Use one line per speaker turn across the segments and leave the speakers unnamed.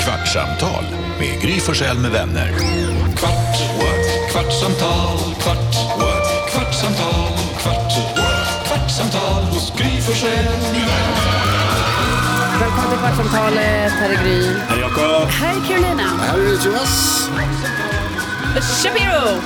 Kvartsamtal med Gry Forssell med vänner. Kvart, what? kvartsamtal, kvart, what? kvartsamtal, kvart, what? kvartsamtal hos Gry Forssell med vänner.
Välkommen till Kvartsamtalet, här är Gry.
Hej Jakob!
Här är Carolina.
Här är Jonas.
Shapiro!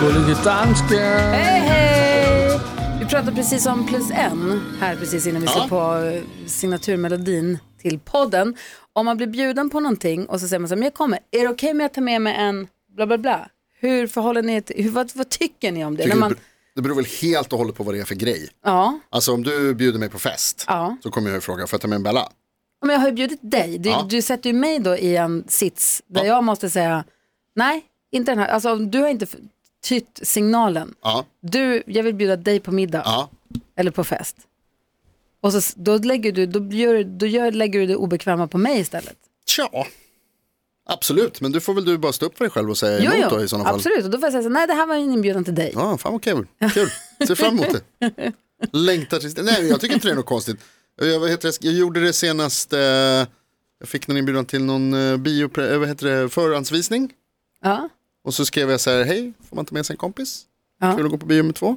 Gullige dansken.
Hej, hej! Vi pratade precis om plus en här precis innan vi slog på eh, signaturmelodin till podden. Om man blir bjuden på någonting och så säger man så här, men jag kommer, är det okej om jag tar med mig en bla bla bla? Hur förhåller ni er till, hur, vad, vad tycker ni om det? När man,
Det beror väl helt och hållet på vad det är för grej.
ja,
Alltså om du bjuder mig på fest
Ja.
så kommer jag ju fråga, får jag ta med en Bella?
men jag har ju bjudit dig. Du,
Ja.
du sätter ju mig då i en sits där jag måste säga, nej, inte den här, alltså du har inte f- tytt signalen.
Ja,
Du, jag vill bjuda dig på middag.
ja.
eller på fest. Och så, då lägger du, då gör, då gör, lägger du det obekväma på mig istället.
Tja. Absolut, men du får väl du bara stå upp för dig själv och säga
Jo,
emot då
jo,
i sådana fall.
absolut. Och då får jag säga så, nej det här var en inbjudan till dig.
Ja, fan vad kul. kul. Ser fram emot det. Längtar tills det. Nej, jag tycker inte det är något konstigt. Jag, vad heter det? jag gjorde det senast, eh, jag fick någon inbjudan till någon eh, bio, eh, vad heter det, förhandsvisning.
Ja.
Och så skrev jag så här, hej, får man ta med sig en kompis?
Ja.
Kul att gå på bio med två.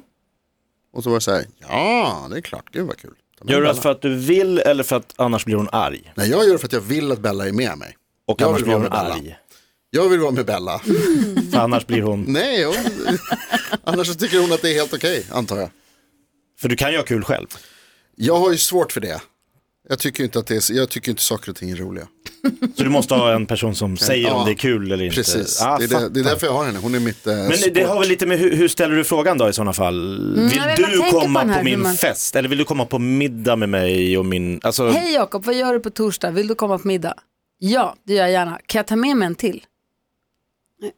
Och så var det så här, ja, det är klart, gud vad kul. Ta med
Gör du det
Bella.
för att du vill eller för att annars blir hon arg?
Nej, jag gör det för att jag vill att Bella är med mig.
Och
Jag
annars
vill
blir hon
vara med
arg.
Jag vill vara med Bella.
För annars blir hon...
Nej, hon... annars så tycker hon att det är helt okej, antar jag.
För du kan ju ha kul själv.
Jag har ju svårt för det. Jag tycker ju inte att det är... jag tycker inte saker och ting är roliga.
Så du måste ha en person som säger
Ja,
om det är kul eller inte.
Precis,
Ah,
det, är det, det är
fattar.
därför jag har henne. Hon är mitt... Eh,
Men det
support.
har väl lite med hur, hur ställer du frågan då i sådana fall? vill
Mm, jag vet, man
du
tänker på
komma
den
på,
här, hur
min
man-
fest? Eller vill du komma på middag med mig och min... Alltså,
Hej Jakob, vad gör du på torsdag? Vill du komma på middag? Ja, det gör jag gärna. Kan jag ta med mig en till?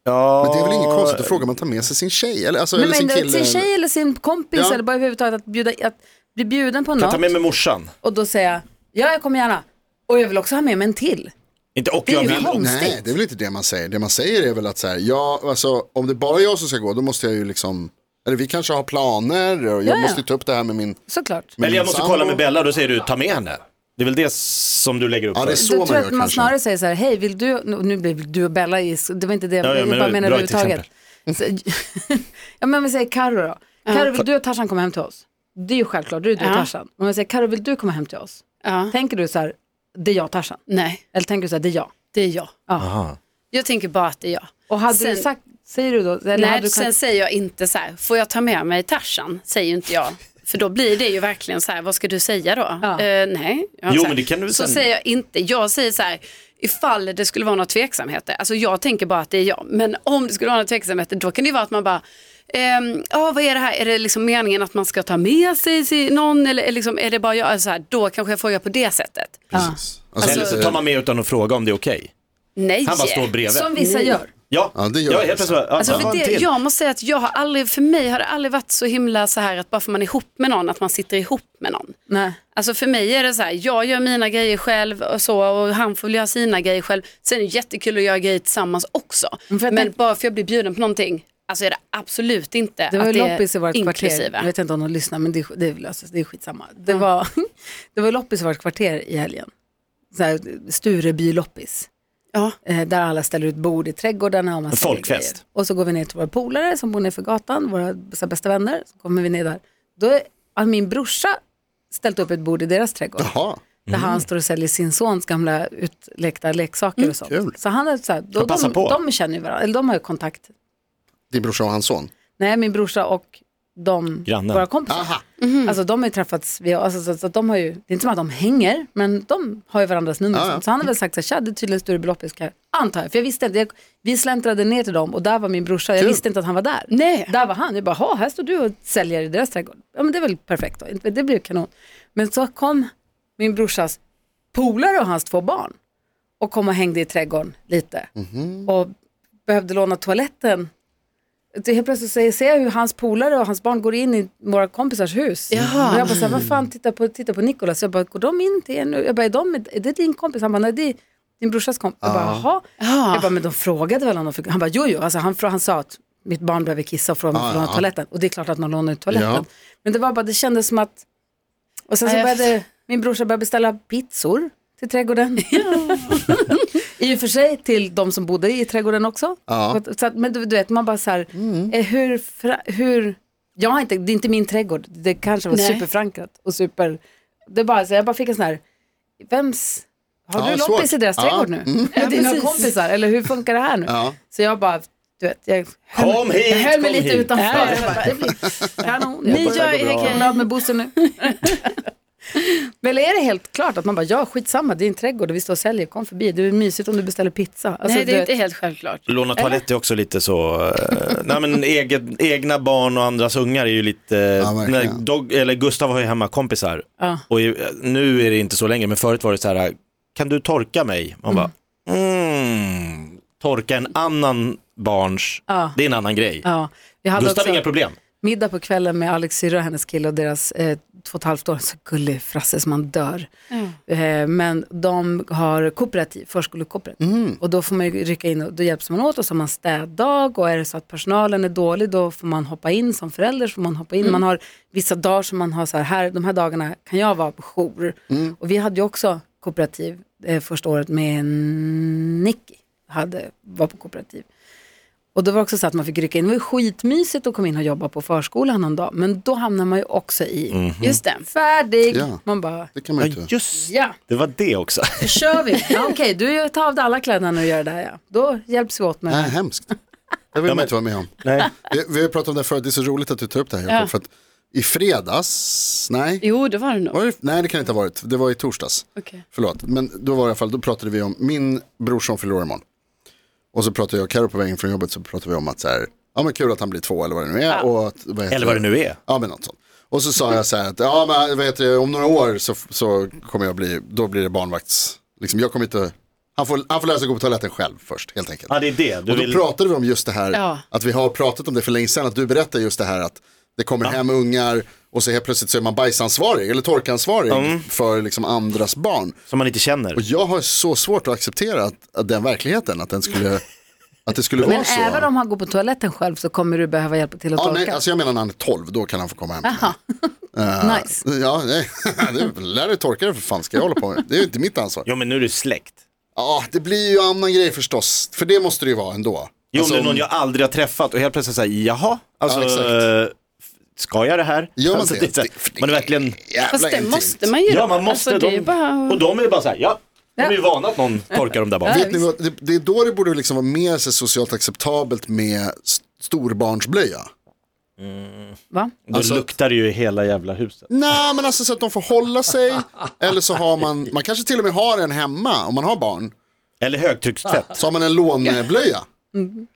ja,
Men det är väl inget konstigt att fråga, man tar med sig sin tjej eller, alltså,
Nej,
eller
men
sin kille.
sin tjej eller sin kompis
Ja.
eller bara överhuvudtaget att, bjuda, att bli bjuden på
Kan jag
något
ta med mig morsan?
och då säga ja, jag kommer gärna. Och jag vill också ha med mig en till.
Inte och
Det är
jag
ju
vill.
konstigt.
Nej, det är väl inte det man säger. Det man säger är väl att så här, ja, alltså, om det är bara jag som ska gå, då måste jag ju liksom, eller vi kanske har planer och jag
ja.
måste ju ta upp det här med min...
Såklart.
Med
Eller jag
min
måste
sambo.
kolla med Bella, då säger du ta med henne. Det är väl det som du lägger upp?
Ja, det är
för?
så
då
man
tror
gör
jag att man
kanske.
snarare säger så här, hej vill du, nu nu blir du och Bella i, det var inte det,
ja,
jag
men
bara
det
menar
var ett bra
överhuvudtaget. Så- ja men vi säger Carro då, Carro vill du och Tarzan komma hem till oss? Det är ju självklart, då är det du och
Ja.
Tarzan. Men om jag säger Carro vill du komma hem till oss?
Ja.
Tänker du så här, det är jag och Tarzan?
Nej,
Eller tänker du så här, det är jag?
det är jag.
Ja.
Jag tänker bara att det är jag.
Och hade
Sen-
du sagt, säger du då? Eller hade
Nej,
du
sen
kunnat-
säger jag inte så här, får jag ta med mig Tarzan? Säger ju inte jag. För då blir det ju verkligen så här, vad ska du säga då?
Ja.
Eh, nej. Ja,
Jo,
så här.
men det kan du väl
Så
sen-
säger jag inte, jag säger så här, ifall det skulle vara några tveksamheter, alltså jag tänker bara att det är jag, men om det skulle vara några tveksamheter, då kan det ju vara att man bara, ehm, ja vad är det här, är det liksom meningen att man ska ta med sig sig någon eller är liksom, är det bara jag, så här, då kanske jag frågar på det sättet.
Precis. Alltså,
Eller så tar man med utan att fråga om det är okej.
Nej.
Han bara står bredvid.
Som vissa gör.
Ja,
Ja, det gör
ja
jag.
helt plötsligt. Ja,
Alltså
ja,
för det,
till.
jag måste säga att jag har aldrig, för mig har det aldrig varit så himla så här att bara för man är ihop med någon, att man sitter ihop med någon.
Nej.
Alltså för mig är det så här, jag gör mina grejer själv och så och han får väl göra sina grejer själv. Sen är det jättekul att göra grejer tillsammans också.
Men för att
Men
tänk-
bara för att jag blir bjuden på någonting, alltså är det absolut inte
Det var
att
ju
det
loppis i vårt
är
kvarter.
inklusive.
Jag vet inte om de lyssnar men det, är- det, löses, det är skitsamma. Det var, det var loppis i vårt kvarter i helgen. Så här, Stureby loppis.
Ja.
Eh, där alla ställer ut bord i trädgårdarna. Och man säljer
folkfest.
grejer. Och så går vi ner till våra polare som bor ner för gatan, våra så här bästa vänner. Så kommer vi ner där. Då är- har min brorsa ställt upp ett bord i deras trädgård.
Jaha,
Där
Mm.
han står och säljer sin sons gamla utlekta leksaker och sånt.
kul.
Så han är så här, då,
Jag passar
de,
på.
de känner ju varandra, eller de har ju kontakt.
din brorsa och hans son.
Nej, min brorsa och de,
Grannen.
våra kompisar.
Aha. Mm.
Alltså de har ju träffats, via, alltså, så, så att de har ju, det är inte som att de hänger, men de har ju varandras nummer. och
Ja, ja.
sånt. Så han har väl sagt så här, tja det är tydligen större beloppfiskar, antar jag. För jag visste inte, jag, vi släntrade ner till dem och där var min brorsa, jag
Kul.
visste inte att han var där.
Nej.
Där var han, jag bara, "Ha, här står du och säljer i deras trädgård. Ja men det är väl perfekt då, Inte- det blir ju kanon. Men så kom min brorsas polare och hans två barn och kom och hängde i trädgården lite
Mhm.
och behövde låna toaletten. Det helt plötsligt så ser jag hur hans polare och hans barn går in i våra kompisars hus.
Jaha.
Och jag bara så här, vad fan, titta på, titta på Nikolas. Jag bara, går de in till er nu? Jag bara, är, de, är det din kompis? Han bara, nej det är din brorsas kompis. Jag bara, jaha.
Ja.
Jag bara, men de frågade väl om de fick. Han bara, jo jo, alltså, han, frå- han sa att mitt barn behöver kissa och fråga om
Ja,
ah, låna
ja.
toaletten. Och det är klart att man lånar ut toaletten.
Ja.
Men det var bara, det kändes som att, och sen så
Nej, jag-
började min brorsa började beställa pizzor. till trädgården. I och för sig till de som bodde i trädgården också.
Ja. Mm.
Så att, men du, du vet, man bara så här, eh, hur, fra, hur, jag har inte, det är inte min trädgård, det kanske var
Nej.
superförankrat och super, det är bara så jag bara fick en sån här, vems, har
Ja,
du
svårt.
loppis i deras
Ja. Mm.
trädgård nu? Med dina kompisar, eller hur funkar det här nu?
Ja.
Så jag bara, du vet, jag höll,
Kom hit,
jag höll mig lite
kom hit. Äh.
utanför.
Ja,
Jag bara, det blir kanon.
Ni
Jag bara,
gör-
jag
okej.
är glad med bussen nu. Men är det helt klart att man bara, ja skitsamma, det är en trädgård och vi står och säljer, kom förbi, det är mysigt om du beställer pizza. Alltså,
Nej,
du
det är
vet-
inte helt självklart.
Låna toalett är också lite så, eh, nej men egen, egna barn och andras ungar är ju lite, när
verkligen.
dog, eller Gustav har ju hemma kompisar
Ja.
och ju, nu är det inte så länge men förut var det så här, kan du torka mig? Man bara, mm, torka en annan barns,
Ja.
det är en annan grej.
Ja, vi hade
Gustav
också
har inga problem.
middag på kvällen med Alex syrra och hennes kille och deras eh, två och ett halvt år, så gullig frasse som man dör. Eh, men de har kooperativ, förskolekooperativ. Och då får man ju rycka in och då hjälps man åt och så har man städdag och är det så att personalen är dålig då får man hoppa in som förälder. Så får man, hoppa in. man har vissa dagar som man har så här, här, de här dagarna kan jag vara på jour. Och vi hade ju också kooperativ eh, första året med Nicky, hade, var på kooperativ. Och då var det också så att man fick rycka in. Det var ju skitmysigt att komma in och jobba på förskolan någon dag. Men då hamnar man ju också i,
Just det.
färdig.
Mhm. Ja.
Man bara,
Det kan man
Ja,
ju inte.
just
ja,
det var det också.
då kör vi. Ja, Okej, du tar av dig alla kläderna och gör det här ja. Då hjälps vi åt med det
Nej,
här.
hemskt. Det vill man inte vara med om.
Nej.
Vi, vi har pratat om det här förut, det är så roligt att du tar upp det här Jakob. För att i fredags, nej,
Jo, det var det nog.
var det, nej det kan det inte ha varit, det var i torsdags.
Okej.
Förlåt, men då var det i alla fall, då pratade vi om min brorson förlorar imorgon. Och så pratade jag och Carro på vägen från jobbet så pratade vi om att så här, ja men kul att han blir två eller vad det nu är. Och att, vad heter
Eller vad det nu är.
Ja men något sånt. Och så sa jag så här att, ja men vad heter det, om några år så, så kommer jag bli, då blir det barnvakts, liksom jag kommer inte, han får, han får lära sig gå på toaletten själv först helt enkelt.
Ja det är det, du
Och då
vill,
pratade vi om just det här,
Ja.
att vi har pratat om det för länge sedan, att du berättar just det här att det kommer hem ungar och så helt plötsligt så är man bajsansvarig eller torkansvarig
Mm.
för liksom andras barn.
som man inte känner.
Och jag har så svårt att acceptera att, att den verkligheten, att, den skulle, att det skulle
Men
vara så.
även om han går på toaletten själv så kommer du behöva hjälpa till att
Ja,
torka.
nej, alltså jag menar när han är 12, då kan han få komma hem. till
Jaha.
mig.
nice.
Eh, Ja, nej, det- lär dig torka dig för fan, ska jag hålla på med? Det är ju inte mitt ansvar.
Ja men nu är det släkt.
Ja, det blir ju annan grej förstås, för det måste det ju vara ändå.
Jo
Alltså,
om det är någon jag aldrig har träffat och helt plötsligt säger jaha, alltså,
Ja, exakt.
eh, ska jag det här?
Gör man
alltså,
det?
är så här,
Det- för det-
man är verkligen...
jävla
Fast det
intimt.
måste man ju.
Ja,
då.
man måste.
Alltså, det är
de,
ju bara...
Och de är bara så här, ja, de är ju vana att någon torkar dem där bak.
Vet ni vad, det, det är då det borde liksom vara mer så socialt acceptabelt med s- storbarnsblöja.
Va?
Då
Alltså-
luktar det ju i hela jävla huset.
Nej men alltså så att de får hålla sig. Eller så har man, man kanske till och med har en hemma om man har barn.
Eller högtryckstvätt.
Så har man en låneblöja.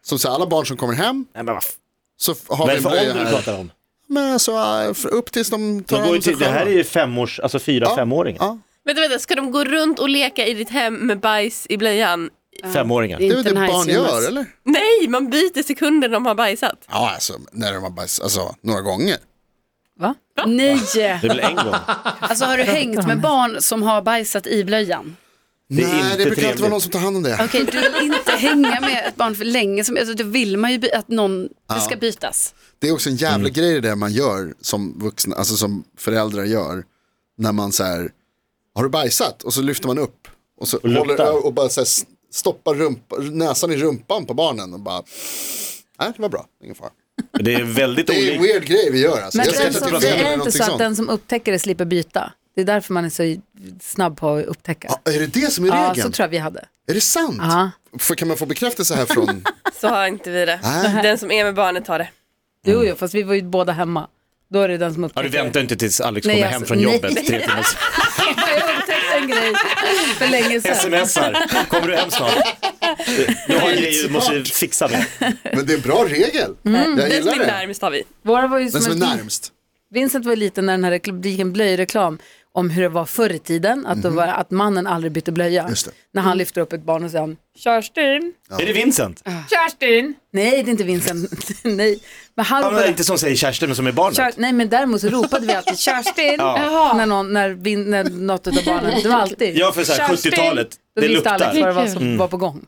Som så här, alla barn som kommer hem
Nej, men vad f-
så f- har
vad
vi
är det
en
för
blöja
ålder du
här.
pratar om?
Men alltså äh, för- upp tills de
De
tar
går ju
hand om
till, det
sig
här är
själva.
ju femårs, alltså fyra, femåringar.
ja.
Vänta, vänta, ska de gå runt och leka i ditt hem med bajs i blöjan?
Femåringar.
Det är väl det
Inte nice,
barn gör
Jonas.
eller?
Nej, man byter sekunder de har bajsat.
Ja alltså när de har bajs, alltså några gånger.
Va?
Nej!
Det är väl en gång.
Alltså har du hängt med barn som har bajsat i blöjan?
Det är
Nej
inte
det brukar
trevligt.
alltid vara någon som tar hand om det.
Okej, du vill inte hänga med ett barn för länge. Som, alltså, då vill man ju by- att någon, det ska bytas.
Det är också en jävla grej det där man gör som vuxna, alltså som föräldrar gör. När man så här, har du bajsat? Och så lyfter man upp. Och så håller
luktar.
och bara så här s- stoppar rumpa, näsan i rumpan på barnen och bara, nej det var bra, ingen fara.
Det är väldigt
Det är en
olika.
weird grej vi gör alltså.
Men
Jag
det
ser
är,
inte
så,
att det är
det
fel
är
eller
inte
någonting
så att
sånt.
den som upptäcker det slipper byta. Det är därför man är så snabb på att upptäcka.
Ja, är det det som är
Ja, så
regeln?
tror jag vi hade.
Är det sant?
Ja.
För kan man få bekräftelse här från,
Så har inte vi det.
Nej.
Den som är med barnet har det.
Jo, jo, fast vi var ju båda hemma. Då är det den som
Ja, du
upptäcker.
väntar inte tills Alex
Nej,
kommer
alltså,
hem från
nej.
jobbet tre timmar
Jag upptäckte en grej för länge sedan.
Smsar, kommer du hem snart? Du har en grej du måste fixa med.
men det är en bra regel.
Mm.
Jag
Den som
gillar
är
det.
närmst har vi.
Våra var ju
Den som är
som en,
närmst.
Vincent var ju liten när den här rekl- det gick en blöjreklam om hur det var förr i tiden, att, då var, att mannen aldrig bytte blöja.
Just det.
När han lyfter upp ett barn och säger Kerstin,
Är det Vincent?
Kerstin. Nej, det är inte Vincent. Nej. Men han
Han
var-
är inte som säger Kerstin men som är barnet.
Kör, nej men däremot så ropade vi alltid Kerstin när, någon, när, vi, när något av barnen, det var alltid
Ja, för så här
Kerstin.
70-talet,
Då
det
visste
luktar. Mm.
Alex vad det var som var på gång.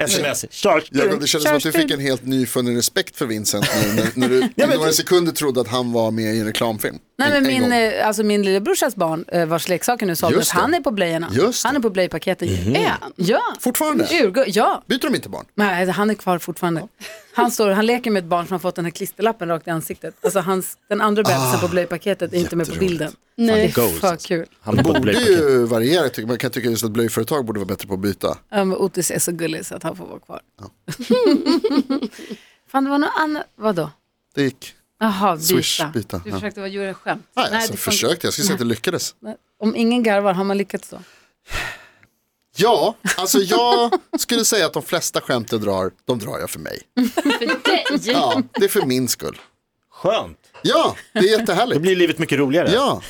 Sms. Kör.
Jag, det kändes som att du fick en helt nyfunnen respekt för Vincent nu när, när du i några sekunder trodde att han var med i en reklamfilm.
Nej, men
en gång.
min, eh, alltså min lillebrorsas barn eh, vars leksaker nu såldes,
Just det.
han är på blöjorna.
Just det. Mhm.
Han är på blöjpaketet. Är han? Ja.
Fortfarande?
Djurgård, ja.
Byter de inte barn?
Nej, alltså, han är kvar fortfarande. Han, står, han leker med ett barn som har fått den här klisterlappen rakt i ansiktet. Alltså hans, den andra bebisen
Ah,
på blöjpaketet är inte med på bilden. Det är
Ghost.
för kul.
Han på
Borde
blöjpaket.
ju variera, tycker man Jag kan tycka just att blöjföretag borde vara bättre på att byta.
Ja, men Otis är så gullig så att han får vara kvar. Fan, det var något annat. Vadå?
Det gick.
Jaha, byta.
Swish, byta,
Du
ja.
försökte vara djur skämt.
Nej, alltså,
det funkar-
försökte, jag skulle säga att det lyckades.
Nej, Om ingen garvar, har man lyckats då?
Ja, alltså jag skulle säga att de flesta skämt jag drar, de drar jag för mig.
För dig.
Ja, det är för min skull.
Skönt.
Ja, det är
Då
jättehärligt.
blir livet mycket roligare.
Ja,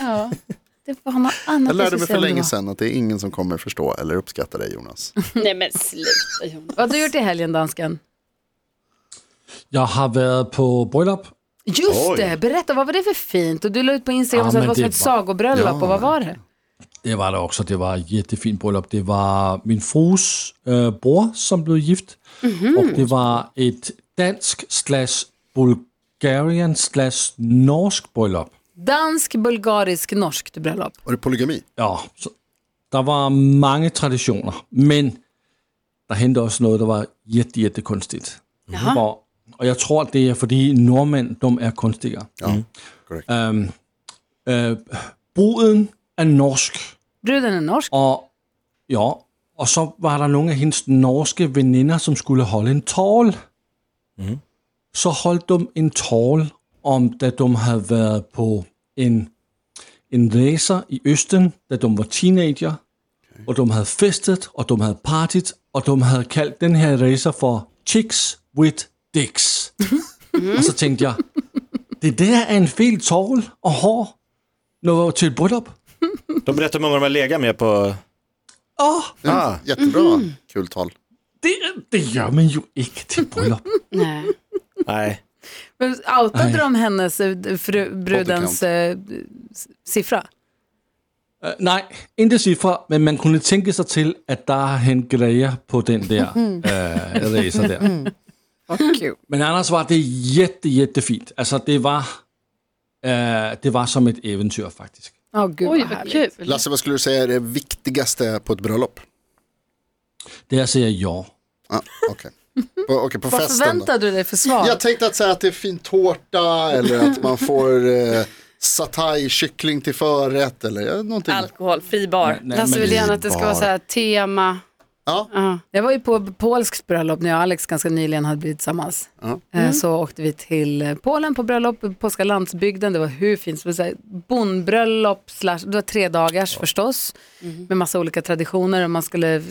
Det var något annat
jag lärde mig
skulle
för
säga vad det
länge
var.
sedan att det är ingen som kommer förstå eller uppskatta dig Jonas.
Nej men sluta Jonas.
Vad har du gjort i helgen, dansken?
Jag har varit på bröllop.
Just
Oj.
det, berätta, vad var det för fint? Och du la ut på Instagram
Ja,
och sa att det
men
var som
det
ett
var-
sagobröllop,
Ja,
och vad var det?
Det var det också. Det var ett jättefint bröllop. Det var min frus äh, bror som blev gift. Och det var ett dansk slash Bulgarian slash norsk bröllop.
Dansk, bulgarisk, norskt bröllop.
Var det polygami?
Ja, så der var mange traditioner, men der hentede også noget, der var jette, jette kunstigt. Hvor, og jeg tror, det er fordi nordmænd, de er kunstigere. Mm.
Ja, korrekt.
Øhm, øh, bruden er norsk,
Bruden är norsk.
og ja, og så var der nogle af hendes norske veninder, som skulle holde en tål. Så holdt de en tål, om da de havde været på en, en racer i Østen, da de var teenager, og de havde festet, og de havde partiet, og de havde kaldt den her racer for Chicks with Dicks. og så tænkte jeg, det der er en fed tål og hår, når til et bryllup.
De berättar hur många de har legat med på...
Åh,
Ah,
Mm. Jättebra,
Mm.
kul tal.
Det, det gör man ju inte till bröllop.
Nej.
nej.
Men Outade
Nej.
de hennes eh, fru, brudens eh, s- siffra?
Eh, nej, inte siffror, men man kunde tänka sig till att det har hänt grejer på den där uh, resan där. Men annars var det jätte, jättefint. Alltså det var, eh, det var som ett äventyr faktiskt.
Ja, gud
Oj
vad
vad
härligt.
kul.
Lasse, vad skulle du säga är det viktigaste på ett bröllop?
Där säger jag
Ah, Okej, på, okej, på
Vad
festen då?
förväntade du dig för svar?
Jag tänkte att säga att det är fin tårta eller att man får eh, satay-kyckling till förrätt eller ja, någonting.
Alkoholfri bar.
nej.
Lasse
men
vill
det är
gärna att det ska vara
bara-
så här tema.
Ja.
Ja.
Jag var ju på polskt bröllop när jag och Alex ganska nyligen hade blivit tillsammans.
Ja.
Eh, Så åkte vi till eh, Polen på bröllop, på polska landsbygden. Det var hur fint som helst. Bondbröllop, slash, det var tre dagars förstås. Med massa olika traditioner och man skulle, eh,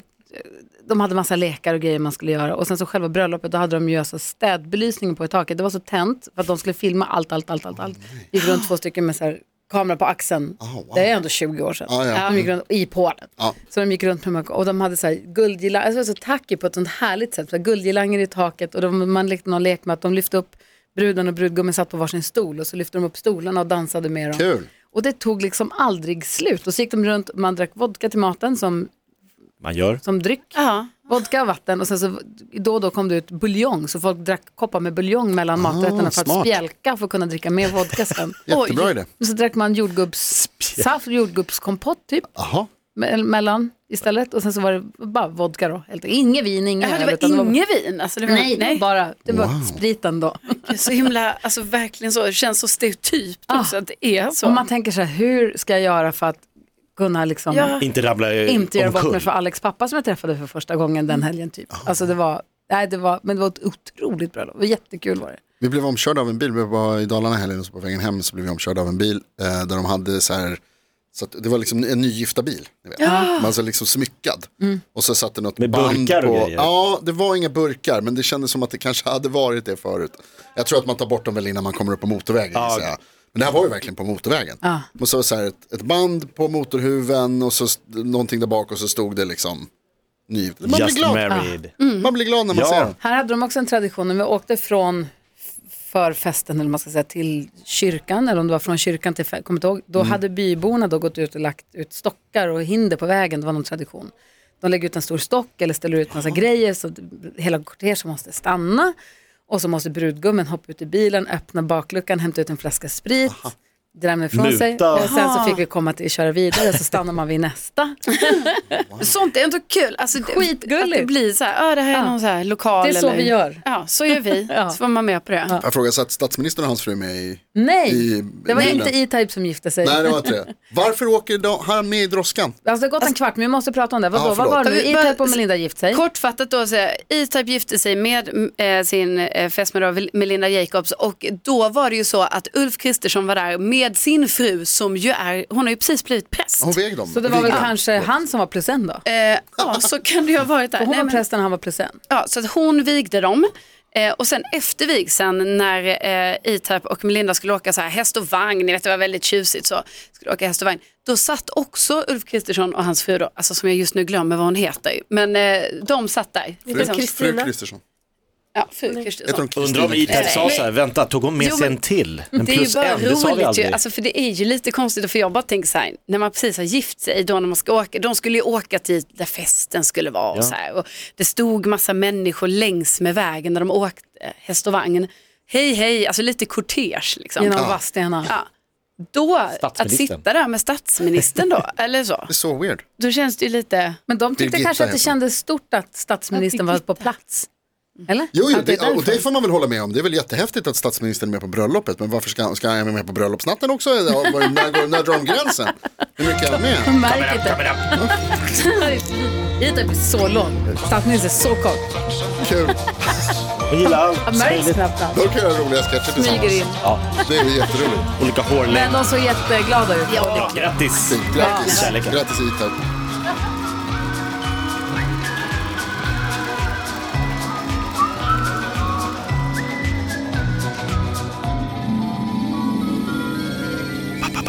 de hade massa lekar och grejer man skulle göra. Och sen så själva bröllopet, då hade de ju alltså städbelysningen på i taket. Det var så tänt för att de skulle filma allt, allt, allt, allt. allt. Gick runt två stycken med så här, kamera på axeln.
wow.
Det är ändå 20 år sedan.
Ja, ja.
De gick runt i Polen.
Ja.
Så de gick runt med mörk- och de hade så här guldgirlanger, alltså det var så tacky på ett sånt härligt sätt, så här guldgirlanger i taket och de, man lekte någon lek med att de lyfte upp bruden och brudgummen satt på varsin stol och så lyfte de upp stolarna och dansade med dem.
Kul.
Och det tog liksom aldrig slut och så gick de runt, man drack vodka till maten som,
Man gör.
som dryck,
Ja.
vodka och vatten och sen så då och då kom det ut buljong så folk drack koppar med buljong mellan maträtterna för att
Ah, smart.
spjälka för att kunna dricka mer vodka sen.
Jättebra idé.
Och så drack man jordgubbssaft, jordgubbskompott typ
Jaha,
me- mellan istället och sen så var det bara vodka då. Helt, inget vin, inget
Ja,
öl.
det var
utan
inget vin. Alltså, det var,
Bara, nej, nej,
nej.
bara, det var spriten då.
Så himla, alltså verkligen så, det känns så stereotypt också att det är så.
Och man tänker så här, hur ska jag göra för att kunna liksom
Ja.
Inte rabbla eh,
inte göra bort
omkull.
mig för Alex pappa som jag träffade för första gången den helgen typ. Alltså det var, nej det var, men det var ett otroligt bröllop, Det var jättekul var det.
vi blev omkörda av en bil. Vi var i Dalarna i helgen och så på vägen hem så blev vi omkörda av en bil eh, där de hade så här, så att det var liksom en nygifta bil. Ni vet. Man så liksom smyckad. Och så satt det något
Med
band
burkar
på.
och grejer.
Ja, det var inga burkar men det kändes som att det kanske hade varit det förut. Jag tror att man tar bort dem väl innan man kommer upp på motorvägen. gissar jag. Men det här var ju verkligen på motorvägen. Och så var det så här ett, ett band på motorhuven och så st- någonting där bak och så stod det liksom nygift. Man blir
Just
glad. Mm.
married.
Ah.
Man blir glad när man
Ja.
ser dem.
Här hade de också en tradition, när vi åkte från förfesten eller vad man ska säga till kyrkan eller om det var från kyrkan till fe- kommer inte ihåg,
Mm.
då hade byborna då gått ut och lagt ut stockar och hinder på vägen, det var någon tradition. De lägger ut en stor stock eller ställer ut massa grejer så att hela kortegen måste stanna och så måste brudgummen hoppa ut i bilen, öppna bakluckan, hämta ut en flaska sprit, drämmer ifrån
Muta.
sig och sen så fick vi komma till köra vidare så stannar man vid nästa.
Sånt är ändå kul. Alltså, det- Att
Skitgulligt.
det blir så här, ah, det här är
Ja.
någon så här lokal.
Det är så
eller...
vi gör.
Ja, så gör vi.
Ja.
Så var man med på det.
Jag frågar, satt statsministern och hans fru med i...
Nej,
I-
det var
i-
inte E-Type som gifte sig.
Nej, det var inte det. Varför åker då- han med i droskan?
Alltså det har gått en kvart men vi måste prata om det. Vadå,
Ja,
vad
förlåt.
var det nu?
Men-
E-Type och Melinda gift sig.
Kortfattat då, så eh, här, E-Type gifte sig med mm, eh, sin eh, fästmö då, Vel- Melinda Jacobs och då var det ju så att Ulf Kristersson var där med sin fru som ju är, hon har ju precis blivit präst.
Hon väg dem.
Så det var väl
Vigde.
kanske han som var plus en då?
Eh, ja, så kan det ju ha varit där.
Hon
Nej,
var
men-
prästen, han var plus en.
Ja, så att hon vigde dem. Eh, och sen efter vigseln när eh, E-Type och Melinda skulle åka så här, häst och vagn, ni vet det var väldigt tjusigt så, skulle åka häst och vagn. Då satt också Ulf Kristersson och hans fru då, alltså som jag just nu glömmer vad hon heter, men eh, de satt där.
Fru-
Liksom-
Fru
Fru
Kristina.
Kristersson.
Ja, fru Kristersson.
Heter hon
Undrar om
Kristina?
E-Type sa så här, vänta, tog hon med
Jo,
sig
men-
en till? En
Det är ju
plus
bara
en, det sa vi
roligt ju,
aldrig.
alltså, för det är ju lite konstigt för jag bara tänker så här, när man precis har gift sig då när man ska åka, de skulle ju åka till där festen skulle vara och så här, och det stod massa människor längs med vägen när de åkte eh, häst och vagn. Hej hej, alltså lite kortege liksom.
Genom Vadstena.
Ja. Då, att
Statsministern.
sitta där med statsministern då, eller så,
Det är så weird.
då känns det ju lite,
Men de tyckte
Birgitta
kanske att det
heter hon.
kändes stort att statsministern var på plats. Eller?
Jo, jo
Att
det,
är
och det
därför.
får man väl hålla med om. Det är väl jättehäftigt att statsministern är med på bröllopet. Men varför ska, han- ska han vara med på bröllopsnatten också? Ja, var- När, går- när drar de gränsen? Hur mycket är han med?
Märk inte. E-Type är typ så lång. Statsministern är så kort.
Kul.
Hon gillar allt.
Han märks knappt alls.
De kan göra roliga sketcher
Smyger in.
tillsammans. Det är ju jätteroligt.
Olika
Men
hårlängd.
de såg jätteglada ut.
Ja, grattis.
Fint. Grattis.
Ja.
Grattis E-Type.